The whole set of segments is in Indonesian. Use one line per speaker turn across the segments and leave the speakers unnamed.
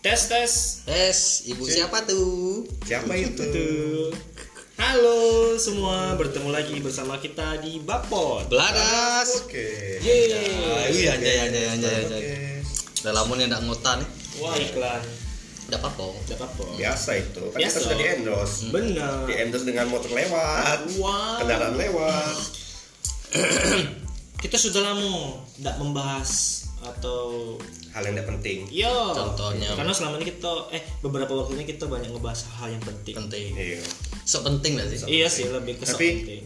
Tes tes.
Tes, ibu siapa tuh?
Siapa itu?
Halo semua, bertemu lagi bersama kita di Bapod.
Beladas. Ah,
Oke.
Yeay.
iya, anjay, anjay, anjay, anjay.
Oke.
Udah lama nih ndak ngota nih.
Wah iklan,
Enggak apa-apa. oh.
gak
Iya.
apa-apa.
Biasa itu. Kan
Biasa.
kita sudah di endorse.
Hmm.
Benar.
Di endorse dengan motor lewat,
Wow.
kendaraan lewat.
Kita sudah lama tidak membahas atau
Hal yang tidak penting.
yo
Contohnya.
karena selama ini kita eh beberapa waktunya kita banyak ngebahas hal yang penting.
Penting.
Iya.
Sepenting enggak sih?
Iya sih lebih ke sok
Tapi-
penting.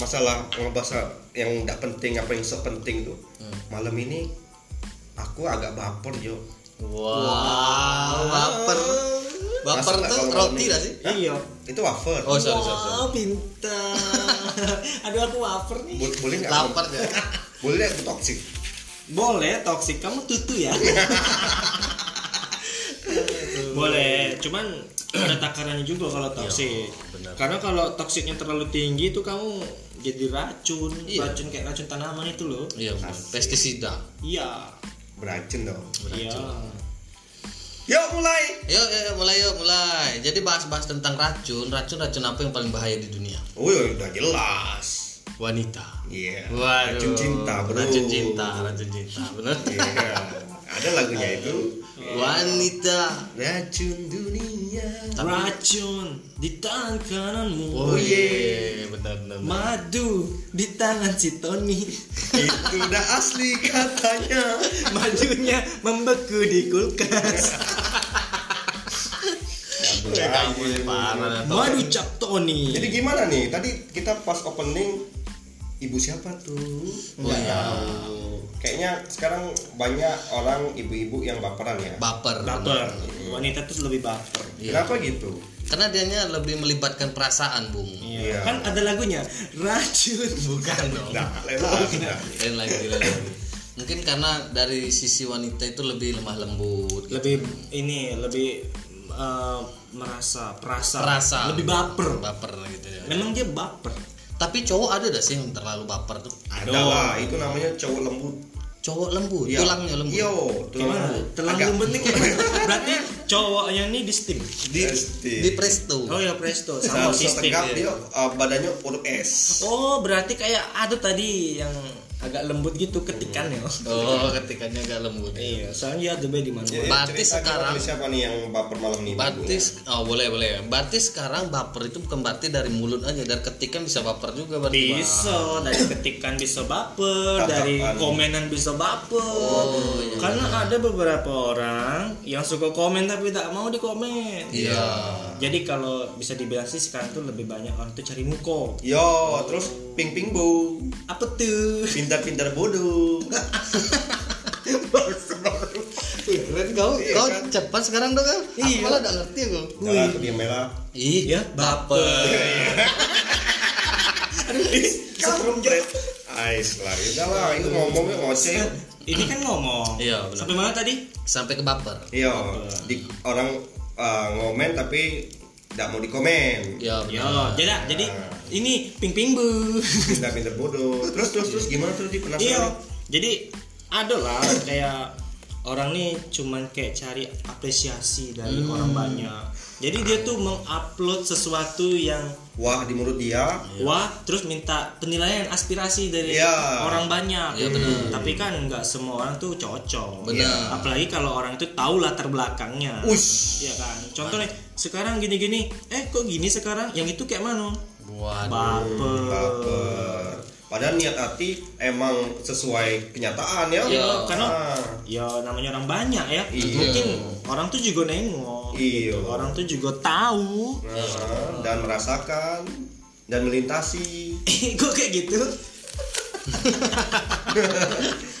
Masalah ngebahas yang tidak penting apa yang sepenting tuh.
Hmm.
Malam ini aku agak baper yo.
Wow, baper. Baper
Masuk nggak
tuh
kalau
roti
malam ini?
enggak sih?
Hah?
Iya.
Itu wafer.
Oh, sorry, sorry, sorry.
Wah, pintar. Aduh aku wafer nih.
Bo- boleh nggak?
Lapar ya.
Boleh nggak aku toksik?
Boleh toksik kamu tutu ya. Boleh, cuman ada takarannya juga kalau toksik.
Iya, benar.
Karena kalau toksiknya terlalu tinggi itu kamu jadi racun,
Iya.
racun kayak racun tanaman itu loh.
Iya, bener. pestisida.
Iya.
Beracun dong.
Iya.
Yuk mulai.
Yuk, yuk, yuk, mulai yuk, mulai. Jadi bahas-bahas tentang racun. Racun-racun apa yang paling bahaya di dunia?
Oh, ya udah jelas.
Wanita.
Iya.
Waduh.
Racun cinta, bro.
Racun cinta, racun cinta. Benar.
Iya. Ada lagunya itu.
Wanita.
Racun dunia.
Racun di tangan kananmu.
Oh iya, benar benar. benar.
Madu di tangan si Tony.
itu udah asli katanya.
Madunya membeku di kulkas.
Ya
Kayak kamu ini parah. tau.
Madu cap Tony.
Jadi gimana nih? Tadi kita pas opening ibu siapa tuh?
Oh,
Nggak tahu.
iya.
Kayaknya sekarang banyak orang ibu-ibu yang baperan ya.
Baper.
baper. Wanita tuh lebih baper.
Kenapa gitu?
Karena dianya lebih melibatkan perasaan, Bung.
Iya.
Kan ada lagunya racun.
Bukan dong.
Nah, lewat. Nah.
Lain lagi, lain lagi. Mungkin karena dari sisi wanita itu lebih lemah lembut. gitu.
Lebih ini lebih eh, merasa perasa.
Perasa.
Lebih baper.
Baper gitu ya.
Memang dia baper.
Tapi cowok ada gak sih yang terlalu baper tuh?
Ada lah, itu namanya cowok lembut.
Cowok lembut,
Iya.
tulangnya lembut.
Yo, tulang
Gimana?
lembut.
Telang
Agak-
lembut nih kayak- Berarti cowoknya nih di steam.
Di, di,
Di presto.
Oh ya presto sama iya.
sama
si steam.
tegap dia uh, badannya huruf S.
Oh berarti kayak ada tadi yang agak lembut gitu ketikan ya.
Oh, ketikanya agak lembut.
Iya, soalnya ada di mana.
Jadi
Berarti
Iya, cerita kita
sekarang-
dari siapa nih yang baper malam ini?
Berarti oh boleh boleh. Berarti sekarang baper itu bukan berarti dari mulut aja, dari ketikan bisa baper juga berarti. Bang.
bisa dari ketikan bisa baper
Tatapan.
dari komenan bisa baper
Oh, iya,
karena ada beberapa orang yang suka komen tapi tak mau dikomen
Iya.
jadi kalau bisa dibilang sih sekarang tuh lebih banyak orang tuh cari muka
Yo, terus ping ping bo,
apa tuh
pintar-pintar bodoh.
Keren kau. kau cepat sekarang dong kau. Iya. Malah enggak ngerti kau.
Kalau aku diam aja lah.
Ih,
Ya,
Iya, baper.
Setrum jret. Ais lah, udah lah, itu ngomongnya ngoceh. yuk.
ini kan ngomong
Iya, benar.
sampai mana tadi
Sampai ke baper.
Yo, Iya, di orang uh, ngomen tapi tidak mau dikomen.
Ya,
Yo,
benar.
Iya, jadi jadi
Iya.
ini ping ping bu
Pintar-pintar bodoh. Terus terus terus gimana tuh
Iya.
di penasaran?
Jadi ada lah kayak orang nih cuman kayak cari apresiasi dari orang banyak. Jadi dia tuh mengupload sesuatu yang
Wah, di menurut dia
wah terus minta penilaian aspirasi dari
Iya.
orang banyak.
Iya, benar.
Tapi kan nggak semua orang tuh cocok.
Benar.
Iya. Apalagi kalau orang itu tahu latar belakangnya.
Ush.
Iya kan. Contohnya sekarang gini-gini, eh kok gini sekarang? Yang itu kayak mana?
Waduh.
Baper.
baper. Padahal niat hati emang sesuai kenyataan ya.
Iya,
karena-
Ah.
ya namanya orang banyak ya
Iya.
mungkin orang tuh juga nengok
Iya.
gitu. orang tuh juga tahu
Nah, dan merasakan dan melintasi.
kok kayak gitu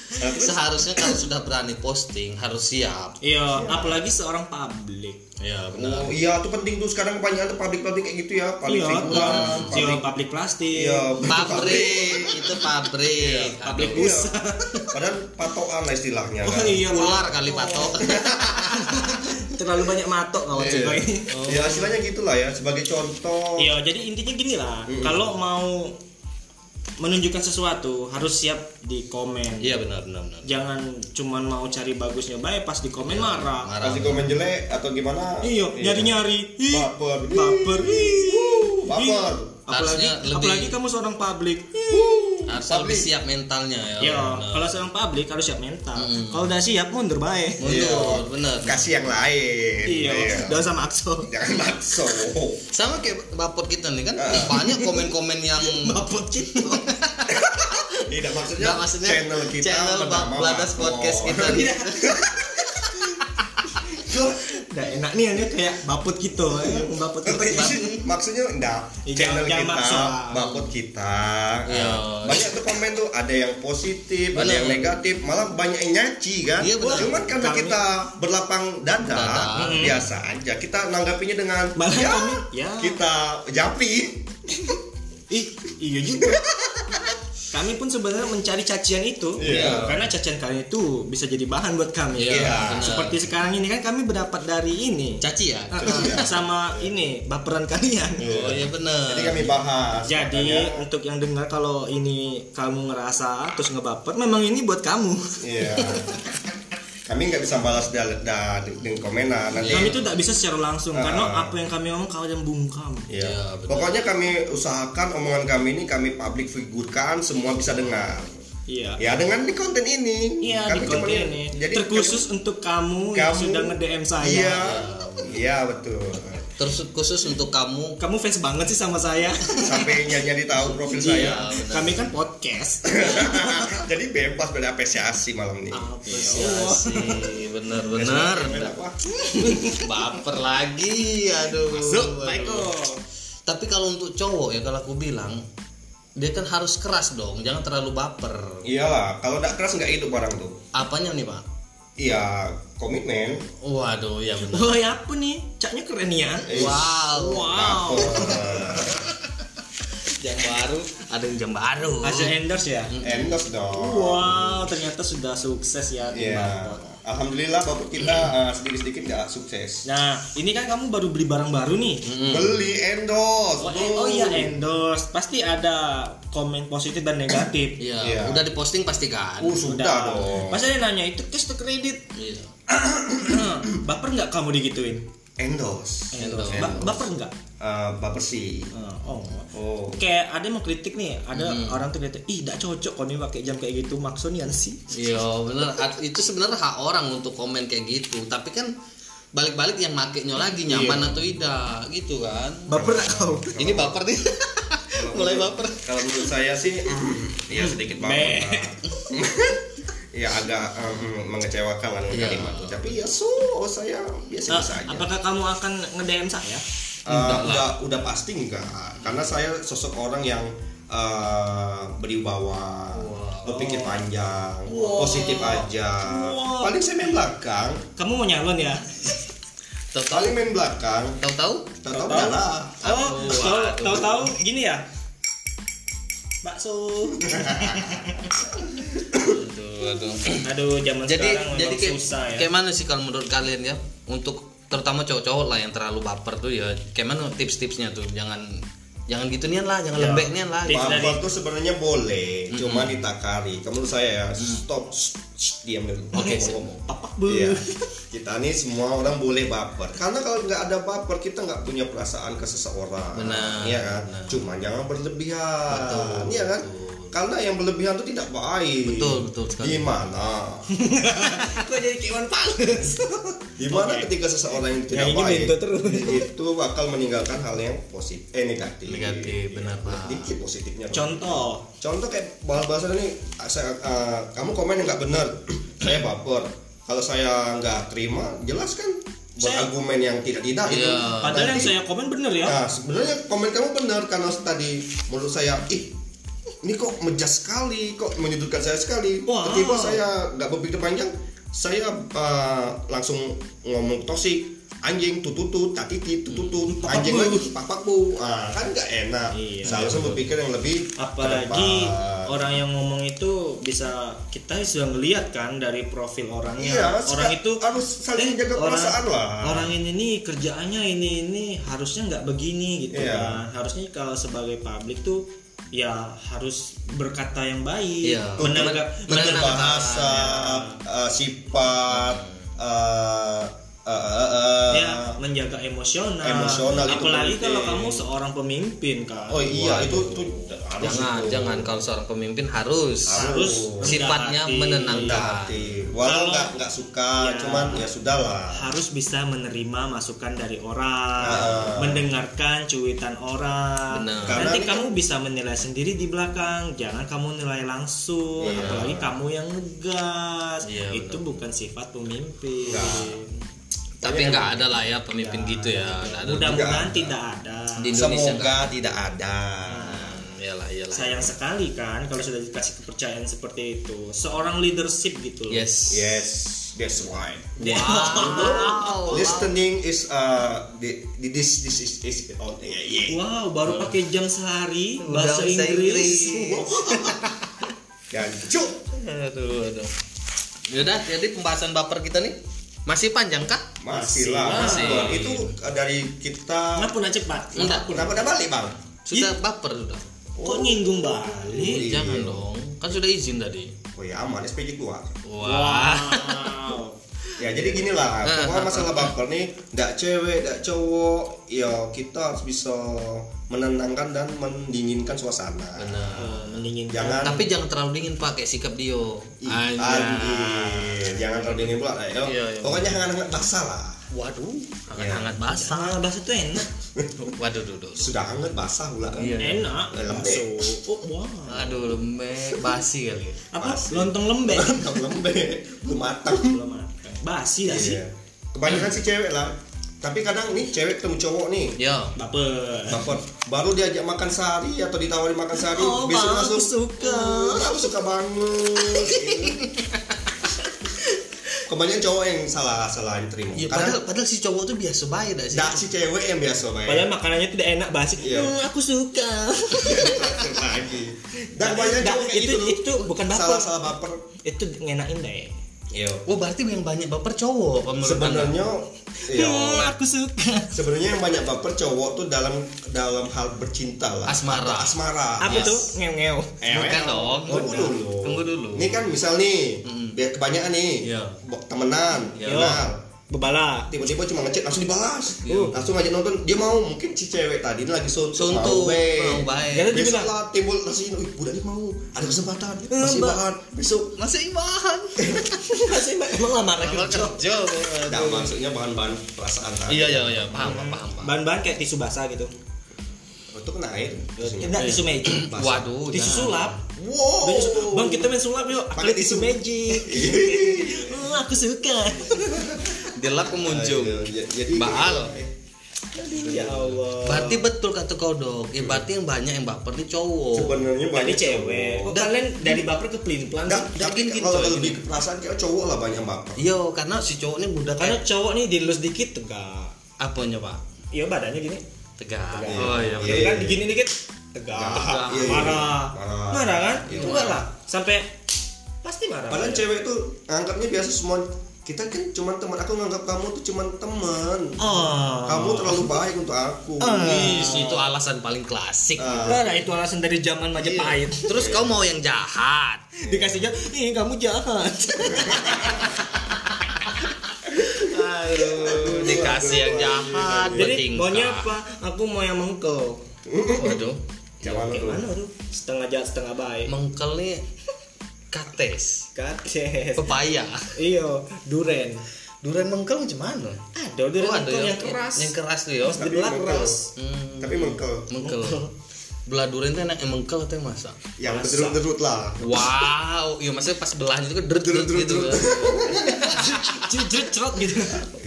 Nah, terus
Seharusnya kalau sudah berani posting harus siap.
iya apalagi seorang publik
Ya, benar.
Oh iya itu penting tuh sekarang kebanyakan tuh pabrik-pabrik kayak gitu ya, pabrik
iya
figuran,
iya,
pabrik
publik plastik
iya,
Pabrik, itu pabrik.
publik
Aduh.
Iya.
usaha
Padahal patokan lah istilahnya
oh
kan.
iya
Ular kali patok.
terlalu banyak matok kawan
Iya.
Ceko ini.
ya istilahnya gitulah ya sebagai contoh
Iya, jadi intinya gini lah. Kalau mau menunjukkan sesuatu harus siap di komen.
Iya benar benar benar.
Jangan cuman mau cari bagusnya baik pas di
Iya.
komen marah.
Marah.
pasti komen jelek atau gimana
Iya, nyari-nyari. Ih,
Baper.
Baper. Ih,
Wuh,
ih.
baper
Apalagi
Harusnya lebih-
apalagi kamu seorang publik.
Harus lebih siap mentalnya ya.
Iya,
benar.
kalau seorang publik harus siap mental. Kalau udah siap mundur baik.
Mundur, benar.
kasih yang lain
Iya, udah sama Axel.
jangan makso
Sama kayak bapot kita nih kan banyak komen-komen yang
Bapot gitu.
tidak maksudnya,
Nggak, maksudnya
channel kita
channel
bernama
Ba- Bladas
Makmur.
Podcast kita nih.
Iya.
Udah enak nih ini kayak bapot gitu. eh, Bapot gitu.
Iya. maksudnya enggak
Iya,
channel
jangan
kita
maksa.
bakut kita Nah,
Iya.
banyak tuh komen tuh ada yang positif ada
Bener.
yang negatif malah banyak yang nyaci kan
Iya, bener.
cuman karena
Kami- Hmm.
kita berlapang dada
Dada.
mm, biasa aja kita nanggapinya dengan
Malah
ya,
kami, ya.
kita japi
Ih, iya juga. Kami pun sebenarnya mencari cacian itu,
Iya.
karena cacian kalian itu bisa jadi bahan buat kami.
Iya,
Iya.
benar.
Seperti sekarang ini kan kami berdapat dari ini,
caci ya.
Ah,
Gitu.
ah, sama ini baperan kalian.
Oh iya benar.
jadi kami bahas
Jadi
makanya.
untuk yang dengar kalau ini kamu ngerasa terus ngebaper, memang ini buat kamu.
iya kami nggak bisa balas dada da, dengan komenan nanti
Kami itu tidak bisa secara langsung
Iya. Ah.
karena apa yang kami omong kalian bungkam.
Iya.
Iya, benar.
Pokoknya kami usahakan omongan kami ini kami public figure kan semua bisa dengar.
Iya.
Ya dengan di konten ini.
Iya
Kami
di konten
cuman-
ini.
Jadi
Terkhusus untuk kamu, yang
kamu-
sudah nge-DM saya.
Iya. Iya betul.
Terus khusus untuk kamu
Kamu fans banget sih sama saya.
Sampai nyari tahu profil
Iya,
saya.
benar.
kami kan podcast.
Jadi bebas dari apresiasi malam ini.
Apa sih?
Apresiasi, benar-benar.
Apa?
Baper lagi, aduh.
Masuk,
Aduh.
Paiko.
Tapi kalau untuk cowok ya kalau aku bilang dia kan harus keras dong, jangan terlalu baper.
Iyalah, kalau nggak keras nggak hidup orang tuh.
Apanya nih pak?
Iya, komitmen.
Waduh, ya benar.
Woi apa nih? Caknya keren ya.
Eh,
Wow,
Wow.
baper.
jam baru, ada yang jam baru.
Aja endorse ya.
Hmm. Endorse dong.
Wow, ternyata sudah sukses ya di
Iya.
Bangkok.
Alhamdulillah bapak kita eh, sedikit-sedikit nggak sukses.
Nah, ini kan kamu baru beli barang baru nih.
beli endorse
Hmm. Oh,
bro.
eh, oh iya endorse. Pasti ada komen positif dan negatif.
Iya,
Iya.
udah diposting pasti kan.
Uh, sudah dong
Pas saya nanya itu cash to kredit.
Iya.
baper nggak kamu digituin?
endorse
Endorse.
Ba- baper nggak?
Eh, baper sih
Eh, oh.
oh
Kayak ada yang mau kritik nih, ada orang tuh kritik, ih gak cocok kok nih pakai jam kayak gitu, maksudnya sih.
Iya, benar. At- Itu sebenarnya hak orang untuk komen kayak gitu, tapi kan balik-balik yang makainya lagi nyaman atau tidak gitu kan.
Baper nggak kau?
Ini baper nih. Mulai baper.
Iya. kalau menurut saya sih mm, ya sedikit baper
Meh.
lah. ya agak mm, mengecewakan lah dengan
Iya.
kalimat itu tapi ya so saya biasa biasa
Ah,
Eh,
aja
apakah kamu akan nge-DM saya?
Eh, udah udah pasti enggak karena saya sosok orang yang eh, berwibawa berpikir panjang positif aja
Wow.
paling saya main belakang
Kamu mau nyalon ya?
Tahu-tahu,
paling main belakang
tahu-tahu
tahu adalah
Oh, tahu- tahu-tahu gini ya? Bakso.
Aduh, aduh.
Aduh, zaman
Jadi
sekarang memang
jadi kayak,
susah ya.
kayak mana sih kalau menurut kalian ya untuk terutama cowok-cowok lah yang terlalu baper tuh ya kayak mana tips-tipsnya tuh jangan jangan gitu nian lah jangan
Ya.
lembek nian lah
Tips.
Baper
dari-
tuh sebenarnya boleh, cuma ditakari. Kalau menurut saya ya, stop, shh, shh, diam dulu.
Oke,
Ngomong,
sip.
ngomong.
Papak
Iya.
bu.
Kita nih semua orang boleh baper. Karena kalau nggak ada baper, kita nggak punya perasaan ke seseorang.
Benar,
Iya kan?
benar.
Cuma jangan berlebihan. Iya kan? Karena yang berlebihan itu tidak baik.
Betul, betul sekali.
Gimana?
Kok jadi kayak Iwan Fals?
Gimana
Oke.
ketika seseorang yang
Yang
tidak
ini
baik
bento terus.
itu bakal meninggalkan hal yang positif eh negatif.
Negatif, benar, Pak.
Dikit positifnya. Pak.
Contoh,
contoh kayak bahasa ini saya, eh, kamu komen yang nggak benar saya baper kalau saya nggak terima jelas kan
Saya-
berargumen yang tidak tidak itu
Iya.
padahal yang
Nanti-
saya komen bener ya.
nah sebenarnya komen kamu benar karena tadi menurut saya ih ini kok mejas sekali kok menyudutkan saya sekali
Wah.
ketika saya nggak berpikir panjang saya eh, langsung ngomong toksik anjing tututut tatiti tututut anjing lagi pak bu ah, kan nggak enak
Hmm, Iya.
seharusnya berpikir yang lebih ke
apalagi
depan.
orang yang ngomong itu bisa kita sudah ngelihat kan dari profil orangnya
Iya,
orang
suka-
itu eh,
harus saling jaga perasaan lah."
orang ini nih kerjaannya ini ini harusnya nggak begini gitu
Iya.
kan harusnya kalau sebagai publik tuh ya harus berkata yang baik
Iya.
menegak
Menegak.
menegak-
bahasa eh, sifat eh, eh, eh, eh,
ya menjaga emosional
Emosional itu
apalagi
penting.
kalau kamu seorang pemimpin kan
oh iya itu itu harus
jangan
itu.
jangan kalau seorang pemimpin harus,
harus
Harus.
rendah
sifatnya
hati.
Rendah
menenangkan
hati Iya, walau
Kalau-
nggak nggak suka
Ya.
cuman ya sudahlah
harus bisa menerima masukan dari orang,
Ah.
mendengarkan cuitan orang.
Nah. Benar.
Karena
Nanti
ini
kamu bisa menilai sendiri di belakang, jangan kamu nilai langsung,
Iya.
apalagi kamu yang ngegas.
Iya,
Itu bukan sifat pemimpin.
tapi nggak ada lah ya pemimpin gitu ya nggak ada
Mudah-mudahan tidak ada.
di Indonesia nggak
semoga tidak ada
iyalah iyalah
Sayang sekali kan kalau sudah dikasih kepercayaan seperti itu. Seorang leadership gitu. loh.
yes
yes that's right
Oh, wow
listening is uh the, the- this this is is oh yeah, yeah.
Wow, baru pakai jam sehari
Udah
bahasa Inggris.
dan cuk
aduh aduh yaudah jadi pembahasan baper kita nih masih panjang kah
masih lah
Masih.
Bang. itu uh, dari kita
Kenapa pernah cepat?
Enggak.
kenapa udah balik bang
sudah baper sudah
Nah, Kok nyinggung balik?
Iya.
jangan dong kan sudah izin tadi
oh ya aman SPG keluar
wah
Wow.
ya jadi gini
Ah,
lah pokoknya masalah baper nih ndak cewek ndak cowok ya kita harus bisa menenangkan dan mendinginkan suasana
benar
Eh, mendingin
jangan
tapi jangan terlalu dingin pakai sikap Dio
Ih, anjir. jangan terlalu dingin pula ya.
Iya, iya.
pokoknya hangat-hangat basah lah
waduh hangat hangat basah
Ah, bahasa itu enak.
waduh duh, duh.
sudah hangat basah pula kan
Iya.
Enak.
Eh, lembek.
bakso. Oh, wow.
aduh lembek basi kali ya.
Apa? Lontong lembek.
lembek belum matang
Belum makan. Basi gak sih?
Iya. Kebanyakan sih cewek lah. Tapi kadang nih cewek ketemu cowok nih.
yo
Baper.
Baper. Baru diajak makan sehari atau ditawarin makan sehari,
Oh,
besok
Bang, aku
langsung
suka.
"Eh, aku suka banget. Gitu. Kebanyakan cowok yang salah salah yang
Iya,
terima.
Ya,
Iya, Karena Nah,
padahal, padahal si cowok tuh biasa baik dah sih.
dak si cewek yang biasa ya. baik.
Padahal makanannya tidak enak basi.
Iya.
Hmm, aku suka.
Terakhir lagi. Dan banyak
Dak,
cowok kayak
itu-
gitu loh.
itu bukan baper.
Salah salah baper.
itu ngenakin deh.
Iya.
Oh berarti yang banyak baper cowok apa menurut Anda?
Sebenarnya,
Hmm,
iya.
aku suka.
Sebenarnya yang banyak baper cowok tuh dalam dalam hal bercinta lah.
Asmara.
Atau Asmara.
Apa
Yes.
tuh? Ngeo-ngeo.
Bukan dong.
Eh, Tunggu dulu.
Tunggu dulu.
Ini kan misal nih, biar kebanyakan nih,
Iya.
bo- temenan,
Iya.
kenal.
Bebala.
Tiba-tiba cuma ngechat langsung dibalas.
Iya.
Langsung ngajak nonton, dia mau mungkin si cewek tadi ini lagi suntuk.
Suntuk,
mau weh.
mau baik.
Jadi dia
Besok
bilang,
lah timbul rasa ini, "Wih, budak ini mau, ada kesempatan, masih
Mbak.
bahan besok.
Masih bahan.
Masih emang lamaran kerja.
kerja.
Nah, maksudnya bahan-bahan perasaan tadi.
Iya iya iya paham paham paham. paham.
Bahan-bahan kayak tisu basah gitu.
Itu kena air.
Iya,
Terus-
Enggak tisu magic.
Basah.
Waduh.
Tisu
jangan.
sulap.
Wow.
Bang kita main sulap yuk.
Pakai
Pakai tisu
tisu. Ya
magic. Hmm, aku suka.
Delap kemunjung.
Aduh, j- Iya, Jadi
Baal.
ya Allah.
Berarti betul kata kau dok. Ya berarti yang banyak yang baper nih cowok.
Sebenarnya
Tadi
banyak
cewek. Kok
Dan-
kalian dari baper ke pelin pelan
Nggak, nggak,
Yakin gitu,
kalau
yakin
lebih ke perasaan kayak cowok lah banyak baper.
Iya karena si cowok ini mudah
Karena
kayak
cowok nih dilus dikit tegak.
apanya pak?
Iya badannya gini.
Tegak. Oh iya.
Gitu
benar.
Iya.
kan digini dikit tegak.
Tegak. Iya, iya.
Marah.
Marah.
Marah kan?
Iya.
Enggak lah. Sampai pasti marah.
Padahal
Iya.
cewek tuh anggapnya biasa semua kita kan cuman teman aku nganggap kamu tuh cuman teman.
Oh.
Kamu terlalu baik untuk aku.
Ih, itu alasan paling klasik.
Ah,
Nah, itu alasan dari zaman Majapahit.
Iya.
Terus kau mau yang jahat.
Dikasihnya, ih kamu jahat.
Aduh, dikasih yang jahat.
Jadi
bertingkah.
maunya apa? Aku mau yang mengkel.
Waduh,
jangan
Kayak
tuh.
mana tuh? Setengah jahat setengah baik.
mengkel nih kates,
Kaces.
pepaya.
Iya, duren.
Durian mengkel macam mana?
Oh, Ada duren mengkel yang keras.
Yang keras tuh ya.
Terus dibelah
mengkel.
keras.
Hmm,
Tapi mengkel.
mengkel. belah durian tuh enak emang kau tuh yang masak
yang
Masak.
berderut-derut lah
wow iya maksudnya pas belahan itu kan deret
Deret,
deret gitu
deret,
kan.
Jujur cerot gitu.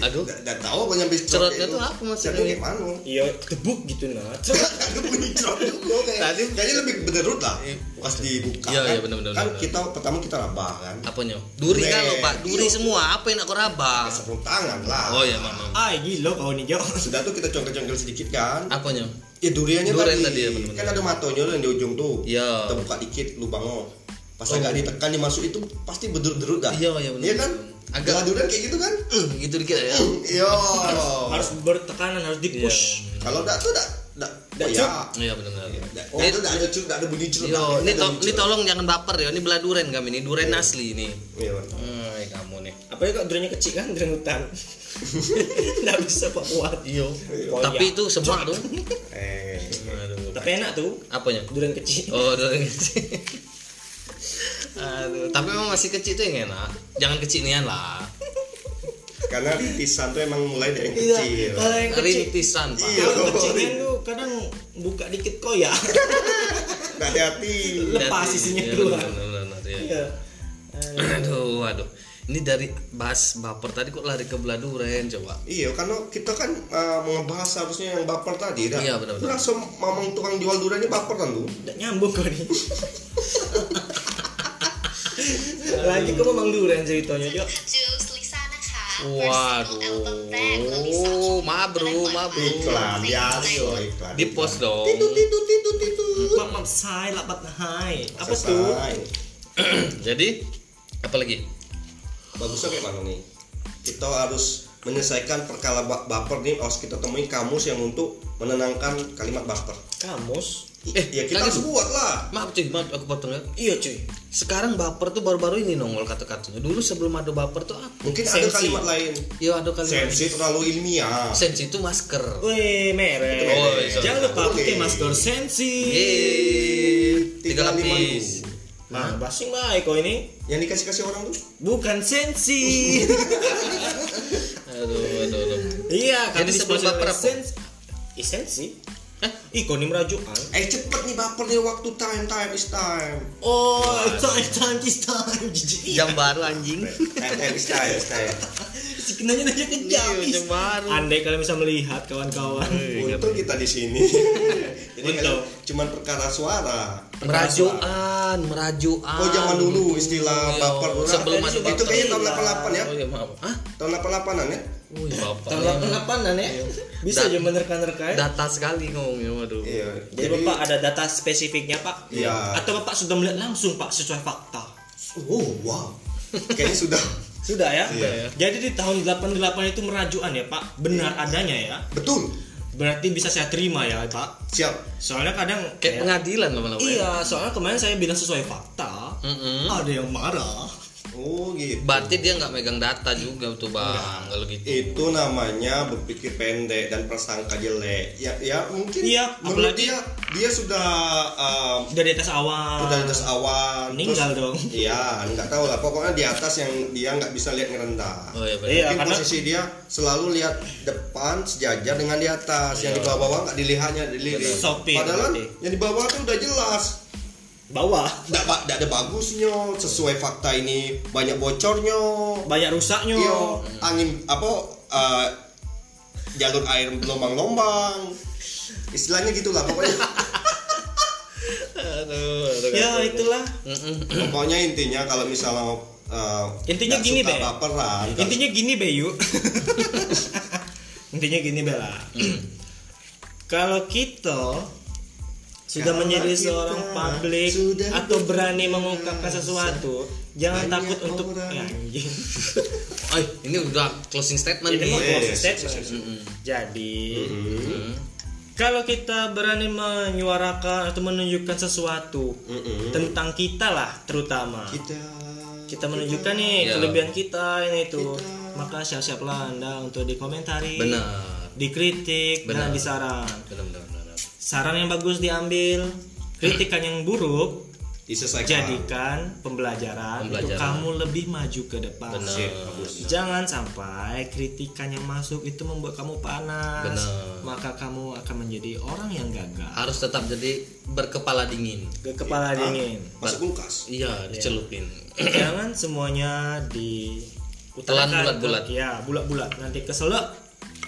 aduh
Da- dan tahu apa nyampe cerot
Cerotnya
itu.
tuh apa maksudnya?
Cerotnya kayak mana
Iya, debuk gitu nah. Cerot.
ada bunyi cerot juga kayak
Tadi-
kayaknya lebih berderut lah pas dibuka
Iya,
kan.
iya, bener-bener,
kan
bener-bener.
kita pertama kita rabah kan
apanya duri
Durian.
kalau pak duri semua apa yang aku rabah
sarung tangan lah
oh iya mama
Ah, gila kau nih, Jo.
sudah tuh kita congkel-congkel sedikit kan
apanya
ya duriannya
Durian
tadi,
tadi, ya, bener-bener.
kan ada matonya tuh yang di ujung tuh
Iya.
kita buka dikit lubangnya pas
Oh.
agak ditekan dimasuk itu pasti berderut-derut dah
Iya, iya, bener.
iya kan
Agak-
Belah durian kayak gitu kan
Eh, gitu dikit ya
iya
Harus bertekanan, harus di-push.
kalau enggak tuh enggak enggak
Nggak
oh, ya
cuk.
iya Oh, benar
Nggak- itu enggak ada cuk enggak ada bunyi cuk
Yo, Iya, ini, to- ini tolong jangan baper ya. Ini belah duren kami ini duren asli ini.
iya
Hmm, eh, kamu nih.
Apalagi kalau duriannya kecil kan, durian hutan. Nggak bisa Pak kuat.
Iyo.
Oh,
Tapi
iya.
itu semua tuh.
eh
Aduh.
Tapi enak tuh,
Apanya?
durian kecil.
Oh, duren kecil. Aduh, tapi memang masih kecil tuh yang enak. Jangan kecil nian lah.
karena rintisan tuh emang mulai dari yang
Iya.
kecil
Iya, Kalau yang kecil.
Rintisan, Pak.
Iya.
Kalau kecilnya tuh kadang buka dikit ya. koyak.
Nggak hati-hati
Lepas
Jadi,
isinya
iya,
keluar.
benar, benar, benar, iya.
Iya. Eh,
Aduh, aduh. Ini dari bahas baper tadi kok lari ke belah duren coba.
iya karena kita kan eh, mengebahas harusnya yang baper tadi dah
Iya, benar-benar.
Lu langsung mamang tukang jual duriannya baper kan tuh
Nggak nyambung kau nih. Lanjut ke Bang Duren ceritanya, Jo.
Waduh, mabru, mabru.
iklan biasa iklan
Di post dong.
titut titut titut titut
Pak Mam Sai, lapat hai. Apa tuh?
Jadi apa lagi?
bagusnya kayak mana nih kita harus menyelesaikan perkara ba- baper nih harus kita temuin kamus yang untuk menenangkan kalimat baper
Kamus.
I-
Eh,
ya kita
lagi
harus
tuh.
buat lah
Maaf cuy, maaf aku potong ya.
Iya cuy.
Sekarang baper tuh baru-baru ini nongol kata-katanya. Dulu sebelum ada baper tuh apa?
mungkin
Sensi.
ada kalimat lain
Yo ada kali.
sensi terlalu ilmiah
Sensi itu masker.
Weh, merek.
Oh, iya.
Jangan lupa pakai
Oke.
masker sensi.
Yeay, Iya, tiga
Tiga lima
lapis.
ribu.
Nah, basing baik kau ini.
yang dikasih kasih orang tuh
Bukan sensi.
Aduh, aduh, aduh.
iya,
Jadi sebelum
disponsori oleh
baper apa?
Sensi. Eh, sensi.
Hah?
Ih, kau ah. ini merajukan.
eh cepet nih baper nih waktu time time is time
Oh, it's time, time, it's time. Jijik.
Jam baru anjing.
time time is time is time
Si kenanya nanya ke jam.
Iya, jam baru.
Andai kalian bisa melihat kawan-kawan.
untung kita di sini jadi
iya, Untung.
kalau cuman perkara suara
Merajuan, merajuan.
Oh, zaman dulu istilah
Iya,
baper tuh.
Sebelum
Jadi
ada
itu
baper.
itu kayaknya tahun
Iya.
88 ya
Oh iya maaf. Hah?
tahun 88an ya
Oh iya baper.
Tahun 88-an ya. Bisa
Dat-
aja menerka-nerka ya.
Data sekali ngomongnya, waduh.
iya
Jadi Bapak ada data spesifiknya Pak?
Iya.
Atau Bapak sudah melihat langsung Pak sesuai fakta?
oh wow kayaknya sudah
Sudah ya?
Iya.
Jadi di tahun 88 itu merajuan ya Pak? Benar adanya ya?
betul
Berarti bisa saya terima ya Pak?
siap
Soalnya kadang
Kayak
kayak-
pengadilan lama-lama. ya.
Iya, soalnya kemarin saya bilang sesuai fakta
Mm-mm.
Ada yang marah
oh gitu
Berarti dia nggak megang data juga tuh bang, kalau gitu.
itu namanya berpikir pendek dan prasangka jelek ya ya mungkin
Iya,
menurut
apalagi-
dia dia sudah um,
Udah di atas awal
udah di atas
Ah,
awan
Meninggal dong
terus- iya nggak tahu lah pokoknya di atas yang dia nggak bisa lihat ngerendah
Oh iya benar.
Iya,
mungkin
karena-
posisi dia selalu lihat depan sejajar dengan di atas yang di bawah-bawah nggak dilihatnya dilihat
Sopir
padahal
berarti.
yang di bawah tuh udah jelas
Bawah
Nggak ba- nggak ada bagusnya sesuai fakta ini banyak bocornya
Banyak rusaknya
Iya, angin apa eh, jalur air berlombang-lombang istilahnya gitulah pokoknya
Aduh, aduh.
Ya itulah
Mm-mm.
pokoknya intinya kalau misalnya eh,
Intinya
nggak
gini,
suka
Be.
baperan nggak-
Intinya gini Bayu Intinya gini Bella
Mm.
Kalau kita sudah
Kalau
menjadi
kita
seorang publik
sudah
atau berani
berbiasa,
mengungkapkan sesuatu, jangan
banyak
takut untuk
orang.
ya, anjing.
Ay, ini udah closing statement
Ini
nih.
mau
Iya,
closing
iya,
statement.
iya,
Jadi,
Mm-mm.
kalau kita berani menyuarakan atau menunjukkan sesuatu
Mm-mm.
tentang kita lah terutama.
kita
kita menunjukkan nih
Iya.
kelebihan kita ini tuh
Kita.
maka siap-siaplah anda untuk dikomentari
Benar.
dikritik dan
Benar.
disaran
Benar, benar, benar.
saran yang bagus diambil kritikan yang buruk
diselesaikan
jadikan pembelajaran, untuk
Pembelajaran.
kamu lebih maju ke depan.
Benar.
Sip, bagus.
Jangan sampai kritikan yang masuk itu membuat kamu panas.
Benar.
Maka kamu akan menjadi orang yang gagal.
harus tetap jadi berkepala dingin
Ke kepala dingin.
masuk kulkas
iya dicelupin
Jangan semuanya di utarakan.
Telan bulat-bulat.
Ya, bulat-bulat. Nanti keselak.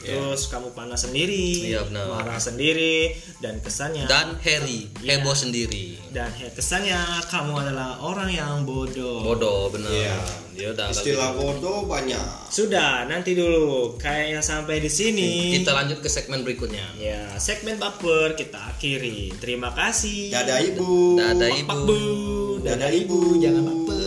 Terus kamu panas sendiri,
Iya, benar.
marah sendiri dan kesannya
dan Harry
Iya.
heboh sendiri
dan he- kesannya kamu adalah orang yang bodoh.
bodoh bener
Iya.
dia udah gitu.
istilah bodoh banyak
Sudah, nanti dulu. Kayaknya sampai di sini.
kita lanjut ke segmen berikutnya
Ya, segmen baper kita akhiri. Terima kasih.
dada ibu
Dada
Pak
ibu
Bu,
Dada
dada ibu,
ibu.
jangan baper.